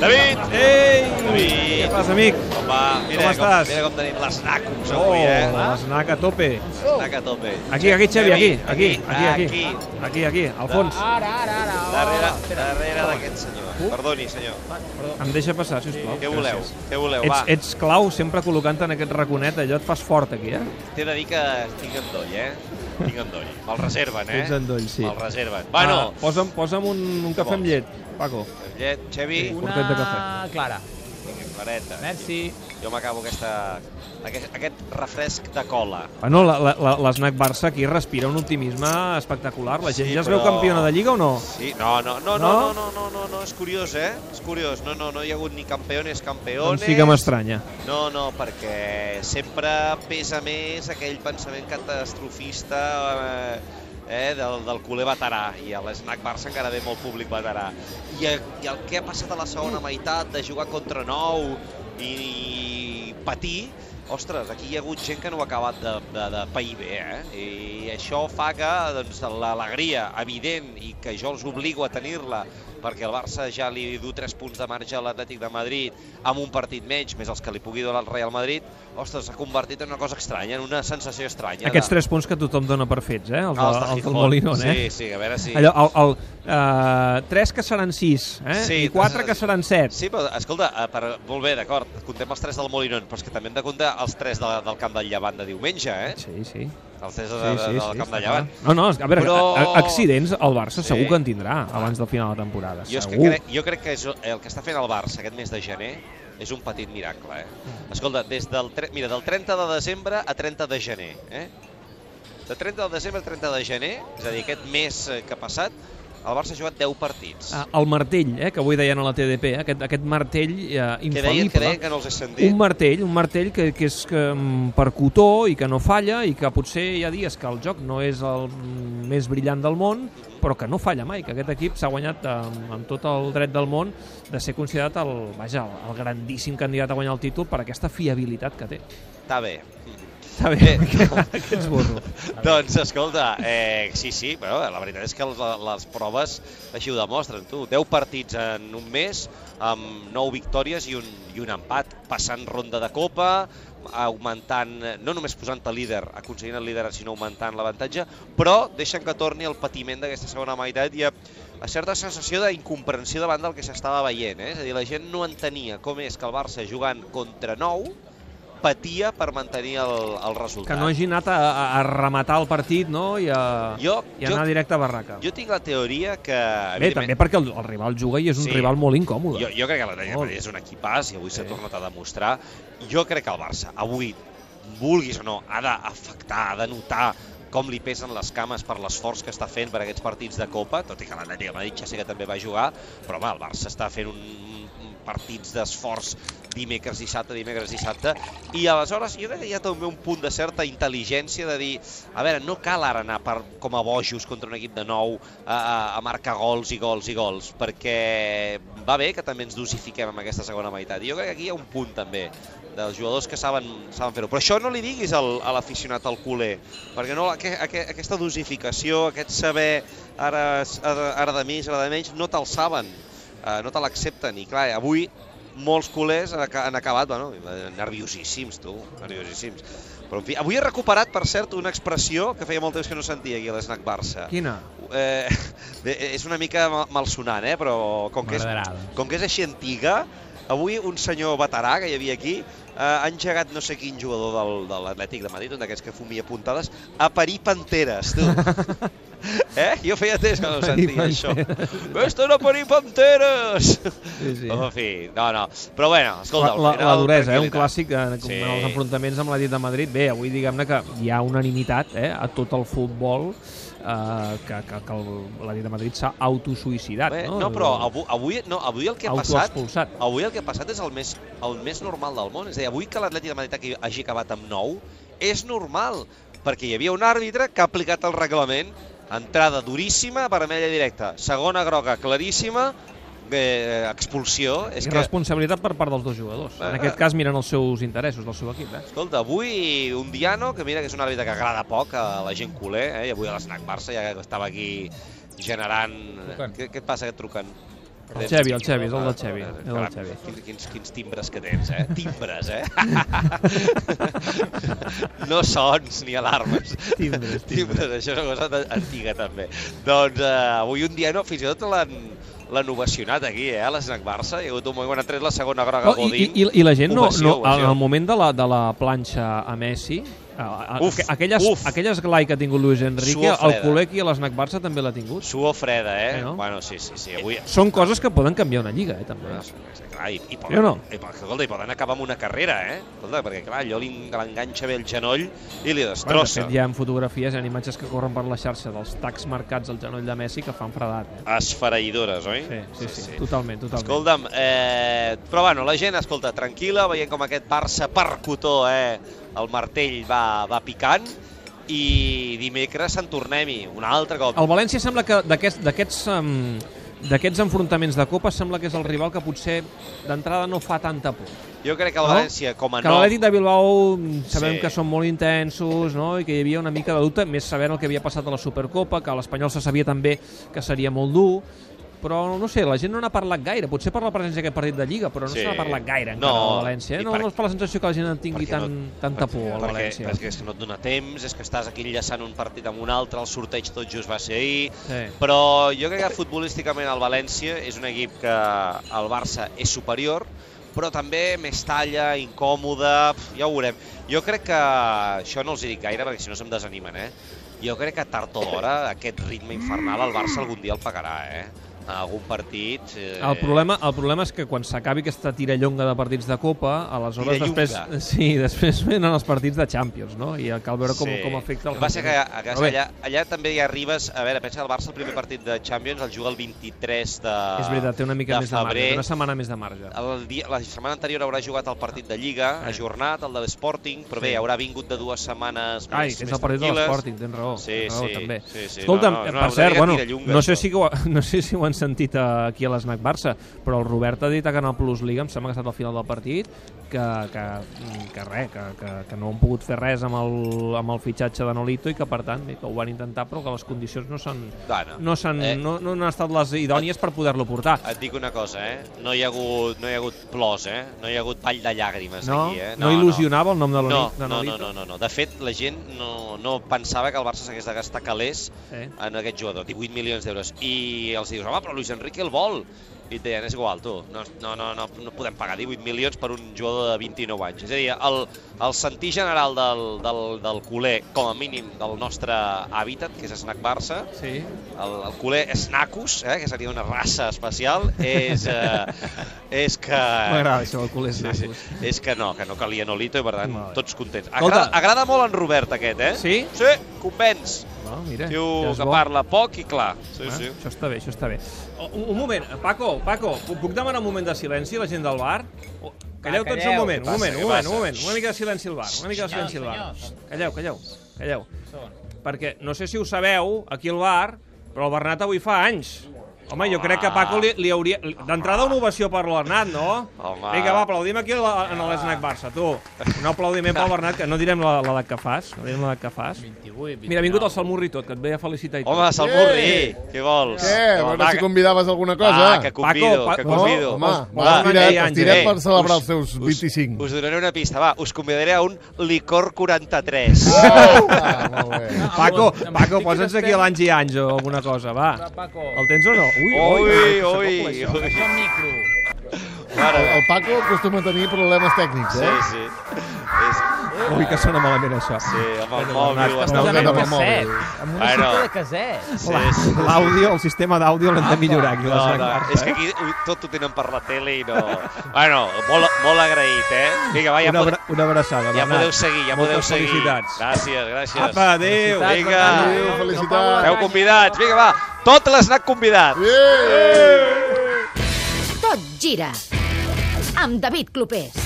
David! Ei! David! Què passa, amic? Com va? Mira Eh, Com estàs? Com, mira com tenim l'esnac Oh, avui, eh? l'esnac a tope. L'esnac a tope. Aquí, aquí, Xavi, aquí, aquí, Aquí. aquí, Ah. aquí. Aquí, aquí, al fons. Ara, ara, ara. Oh. Darrere, darrere d'aquest senyor. Perdoni, senyor. Em deixa passar, sisplau. Què voleu? Uh. Gràcies. Què voleu? Va, Ets, ets clau sempre col·locant en aquest raconet, allò et fas fort aquí, eh? t'he de dir que tinc endoll, eh? Tinc endoll. Me'l reserven, eh? Tens endoll, sí. Me'l reserven. Bueno, Ah, posa'm, posa'm un, un cafè amb vols? llet, Paco. llet, Xevi, Un- una Portet de cafè. Clara. clareta. Merci. Jo m'acabo aquesta... Aquest, aquest refresc de cola. Bueno, la- la- la- l'esnac Barça aquí respira un optimisme espectacular. La gent Sí, ja es veu però- campiona de Lliga o no? Sí, no, no, no, No? no, no, no, no, no, no, és curiós, eh? És curiós, no, no, no hi ha hagut ni campeones, campeones... Doncs sí que m'estranya. No, no, perquè sempre pesa més aquell pensament catastrofista eh, eh, del, del culer veterà i a l'esnac Barça encara ve molt públic veterà. I, eh, I el que ha passat a la segona meitat de jugar contra nou i, i patir, ostres, aquí hi ha hagut gent que no ho ha acabat de, de, de pair bé, eh? I això fa que doncs, l'alegria evident i que jo els obligo a tenir-la perquè el Barça ja li du 3 punts de marge a l'Atlètic de Madrid amb un partit menys, més els que li pugui donar el Real Madrid, ostres, s'ha convertit en una cosa estranya, en una sensació estranya. Aquests de... Ah, tres punts que tothom dona per fets, eh? Els, No, de- de els del Gijón. Molinón, eh? Sí, sí, a veure si... Allò, el, el, eh, tres que seran sis, eh? Sí, I quatre tres- que seran set. Sí, però escolta, eh, per, molt bé, d'acord, comptem els tres del Molinón, però és que també hem de comptar els tres de, del Camp del Llevant de diumenge, eh? Sí, sí. sí, Els tres de, sí, de, sí, del Camp està de Llevant. clar. No, no, a veure, Però- a- a- accidents el Barça Sí. segur que en tindrà abans del final de temporada, Jo, és que segur. crec, jo crec que és el que està fent el Barça aquest mes de gener és un petit miracle, eh? Mm. Escolta, des del, tre- mira, del 30 de desembre a 30 de gener, eh? De 30 de desembre a 30 de gener, és a dir, aquest mes eh, que ha passat, el Barça ha jugat 10 partits. Ah, El martell, eh, que avui deien a la TDP, eh, aquest, aquest martell eh, que, deien, que infal·lible. deien que no els he sentit. Un martell, un martell que, que és que, mm, percutó i que no falla i que potser hi ha dies que el joc no és el mm, més brillant del món, però que no falla mai, que aquest equip s'ha guanyat amb, amb tot el dret del món de ser considerat el, vaja, el, el grandíssim candidat a guanyar el títol per aquesta fiabilitat que té. Està bé. Està bé, Bé. que ets burro. Doncs, escolta, eh, sí, sí, però la veritat és que les, les proves així ho demostren, tu. 10 partits en un mes, amb 9 victòries i un, i un empat, passant ronda de copa, augmentant, eh, no només posant-te líder, aconseguint el líder, sinó augmentant l'avantatge, però deixen que torni el patiment d'aquesta segona meitat i a, a certa sensació d'incomprensió davant del que s'estava veient. Eh? És a dir, la gent no entenia com és que el Barça jugant contra 9 patia per mantenir el, el resultat. Que no hagi anat a, a, a rematar el partit no? I, a, Jo- i jo- anar directe a barraca. Jo tinc la teoria que... Bé, evidentment, també perquè el, el rival juga i és un Sí. rival molt incòmode. Jo, jo crec que l'Atlètic de Madrid és un equipàs i avui s'ha Sí. tornat a demostrar. Jo crec que el Barça avui, vulguis o no, ha d'afectar, ha de notar com li pesen les cames per l'esforç que està fent per aquests partits de Copa, tot i que l'Atlètic de Madrid ja sé que també va jugar, però home, el Barça està fent un, un partits d'esforç dimecres, dissabte, dimecres, dissabte, i aleshores jo crec que hi ha també un punt de certa intel·ligència de dir, a veure, no cal ara anar per, com a bojos contra un equip de nou a, a, a marcar gols i gols i gols, perquè va bé que també ens dosifiquem amb aquesta segona meitat. I jo crec que aquí hi ha un punt també dels jugadors que saben, saben fer-ho. Però això no li diguis al, a l'aficionat al culer, perquè no, aqu, aqu, aquesta dosificació, aquest saber ara, s- ara, ara de més, ara de menys, no te'l saben, eh, no te l'accepten. I clar, avui molts culers han, aca- han acabat bueno, nerviosíssims, tu, nerviosíssims. Però, en fi, avui he recuperat, per cert, una expressió que feia molt temps que no sentia aquí a l'Snac Barça. Quina? Eh, bé, és una mica ma- malsonant, eh? però com que, és, M'agradarà. com que és així antiga, avui un senyor veterà que hi havia aquí eh, ha engegat no sé quin jugador del, de l'Atlètic de Madrid, un d'aquests que fumia puntades, a parir panteres, tu. eh? Jo feia temps que no Parir sentia això. Esto no parir panteres! Sí, sí. En fi, no, no. Però bueno, escolta, la, la, al la final, duresa, eh? un tranquil·litat. clàssic en, sí. Sí. en els enfrontaments amb la dit de Madrid. Bé, avui diguem-ne que hi ha unanimitat eh? a tot el futbol eh, que, que, que el, la dit de Madrid s'ha autosuïcidat. Bé, no? no, però avui, avui, no, avui el que ha passat Autoexpulsat. avui el que ha passat és el més, el més normal del món. És a dir, avui que l'Atlètic de Madrid hagi- hagi acabat amb 9, és normal, perquè hi havia un àrbitre que ha aplicat el reglament, entrada duríssima, vermella directa, segona groga claríssima, eh, expulsió... És És que, responsabilitat per part dels dos jugadors. Eh, En aquest cas miren els seus interessos del seu equip. Eh? escolta, avui un Diano, que mira que és un àrbitre que agrada poc a la gent culer, eh? i avui a l'Snac Barça ja estava aquí generant... Truquen. Què, què et passa que et truquen? El Xevi, el Xevi, és el del Xevi, és el del Caram, Xevi. Quins, quins, quins timbres que tens, eh? Timbres, eh? no sons ni alarmes. Timbres, timbres. timbres. Això és una cosa de- antiga, també. Doncs eh, avui un dia, no, fins i tot l'han l'han ovacionat aquí, eh, a l'Snac Barça. Hi ha hagut un moment quan ha tret la segona groga Oh, oh, i, Godín. i, I la gent, no, Ovació, no, en ovació. el moment de la, de la planxa a Messi, eh, a, a, Uf, aqu- aquelles, uf. aquelles glai que ha tingut Luis Enrique, Suor el freda. col·legi a l'Snac Barça també l'ha tingut. Suor freda, eh? Eh, no? Bueno, sí, sí, sí. Avui, Són coses que poden canviar una lliga, eh, també. Clar, i, i, Sí o poden, no? no? i, poden- escolta, i poden acabar amb una carrera, eh? Escolta, perquè clar, allò li l'enganxa bé el genoll i li Bueno, de destrossa. fet, hi ha fotografies, hi ha imatges que corren per la xarxa dels tacs marcats al genoll de Messi que fan fredat. Eh? Esfereïdores, oi? Sí, sí, sí, totalment, totalment. Escolta'm, eh, però bueno, la gent, escolta, tranquil·la, veient com aquest Barça percutó, eh, el martell va, va picant, i dimecres se'n tornem-hi, un altre cop. El València sembla que d'aquest- d'aquests em, d'aquests enfrontaments de Copa sembla que és el rival que potser d'entrada no fa tanta por. Jo crec que el No? València, com a Oh. Que no... l'Atlètic de Bilbao mm, sabem Sí. que són molt intensos no? i que hi havia una mica de dubte, més sabent el que havia passat a la Supercopa, que l'Espanyol se sabia també que seria molt dur, però no sé, la gent no n'ha parlat gaire, potser per la presència d'aquest partit de Lliga, però no Sí. se n'ha parlat gaire No, encara no, del València. i Eh? No, per- no és per la sensació que la gent en tingui perquè tan, tanta por al perquè, València. Perquè és que no et dona temps, és que estàs aquí enllaçant un partit amb un altre, el sorteig tot just va ser ahir, Sí. però jo crec que futbolísticament el València és un equip que al Barça és superior, però també més talla, incòmode, pf, ja ho veurem. Jo crec que, això no els hi dic gaire perquè si no se'm desanimen, eh? Jo crec que tard o d'hora aquest ritme infernal el Barça algun dia el pagarà, eh? En algun partit... Eh... El problema, el problema és que quan s'acabi aquesta tirallonga de partits de Copa, aleshores Tirallonga. després, sí, després venen els partits de Champions, no? I cal veure com, com afecta el el que passa que rendiment. a casa, Però bé, allà, allà també hi arribes... A veure, pensa que el Barça el primer partit de Champions el juga el 23 de És veritat, té una mica més de marge, febrer. té una setmana més de marge. El dia, la setmana anterior haurà jugat el partit de Lliga, Sí. ha jornat el de l'Sporting, però bé, Sí. haurà vingut de dues setmanes Ai, més, que és més el partit de tranquil·les. l'Sporting, tens raó. Sí, tens raó, sí, també. sí, sí, Escolta'm, no, no, no, per una cert, mica bueno, tirallonga, no sé, això. si que ho, ha- no sé si ho han sentit eh, aquí a l'Snac Barça, però el Robert ha dit que en el Plus Liga, em sembla que ha estat al final del partit, que, que, que res, que, que, que no han pogut fer res amb el, amb el fitxatge de Nolito i que, per tant, bé, que ho van intentar, però que les condicions no s'han... Dona. No, s'han, Eh. no, no han estat les idònies per poder-lo portar. Et dic una cosa, eh? No hi ha hagut, no hi ha hagut plors, eh? No hi ha hagut ball de llàgrimes No, aquí, eh? no il·lusionava el nom de No, Nolito? no, no, no, no, no. De fet, la gent no, no pensava que el Barça s'hagués de gastar calés Sí. en aquest jugador, 18 milions d'euros. I els dius, home, però Luis Enrique el vol. I et deien, és igual, tu, no, no, no, no, no podem pagar 18 milions per un jugador de 29 anys. És a dir, el, el sentir general del, del, del culer, com a mínim, del nostre hàbitat, que és Snack Barça, Sí. el, el culer Snacus, eh, que seria una raça especial, és, eh, és que... M'agrada això, el culer Eh, Sí, sí. És que no, que no calia Nolito i per tant Molt bé. tots contents. Escolta. Agrada, agrada molt en Robert aquest, eh? Sí? Sí, convenç. No, mira, Diu ja és que bo. parla poc i clar. Sí, Ah, sí. Això està bé, això està bé. O- Oh, Un, un moment, Paco, Paco, pu- puc demanar un moment de silenci a la gent del bar? O- Calleu Va, tots un calleu. moment, Oh, ah, Què un passa, què moment, un moment, passa? un moment. Una mica de silenci al bar, una mica de silenci al bar. Senyors, Calleu, calleu, calleu. Són. Perquè no sé si ho sabeu, aquí al bar, però el Bernat avui fa anys. Home, jo crec que a Paco li, li hauria... li- D'entrada una ovació per l'Bernat, no? Home. Vinga, va, aplaudim aquí a la- en l'Snac Barça, tu. Un aplaudiment pel Bernat, que no direm la- l'edat que fas, no direm l'edat que fas. 28, Mira, ha vingut el Salmurri i tot, que et veia felicitar i tot. Home, Salmurri, què vols? Què? A veure Va, si eh. que- convidaves alguna cosa. Va, que convido, Paco, pa- que No, convido. home, Va, va, va, estirat, va, estirat Àngel. per us- celebrar els seus us- 25. Us donaré una pista, va. Us convidaré a un licor 43. Ah, molt bé. Eh, Paco, Amb el- amb Paco, el posa'ns tiquet aquí estem- l'anys i anys o alguna cosa, va. Va, Paco. El tens o no? Ui, Ui, que ui, ui. Això micro. Mare El, meva. el Paco acostuma a tenir problemes tècnics, Sí, eh? sí. És, s'acopa això. Ui, que sona malament això. sí, amb el Bernat, mòbil. estàs bastant- posant amb Amb el un caset. mòbil. Amb una Bueno. cinta de caset. Sí, sí. L'àudio, el sistema d'àudio l'hem de millorar aquí. No, les no, és que eh? aquí ho- tot ho tenen per la tele i no... Bueno, molt, molt agraït, eh? Vinga, va, ja, una, pode, abra- una abraçada, ja Bernat. podeu seguir, ja Moltes podeu seguir. felicitats. Gràcies, gràcies. Apa, adéu. Felicitats. Vinga. Adéu, felicitats. Esteu convidats, vinga, va. Tot l'esnac convidat. Yeah. Tot gira. Amb David Clopés.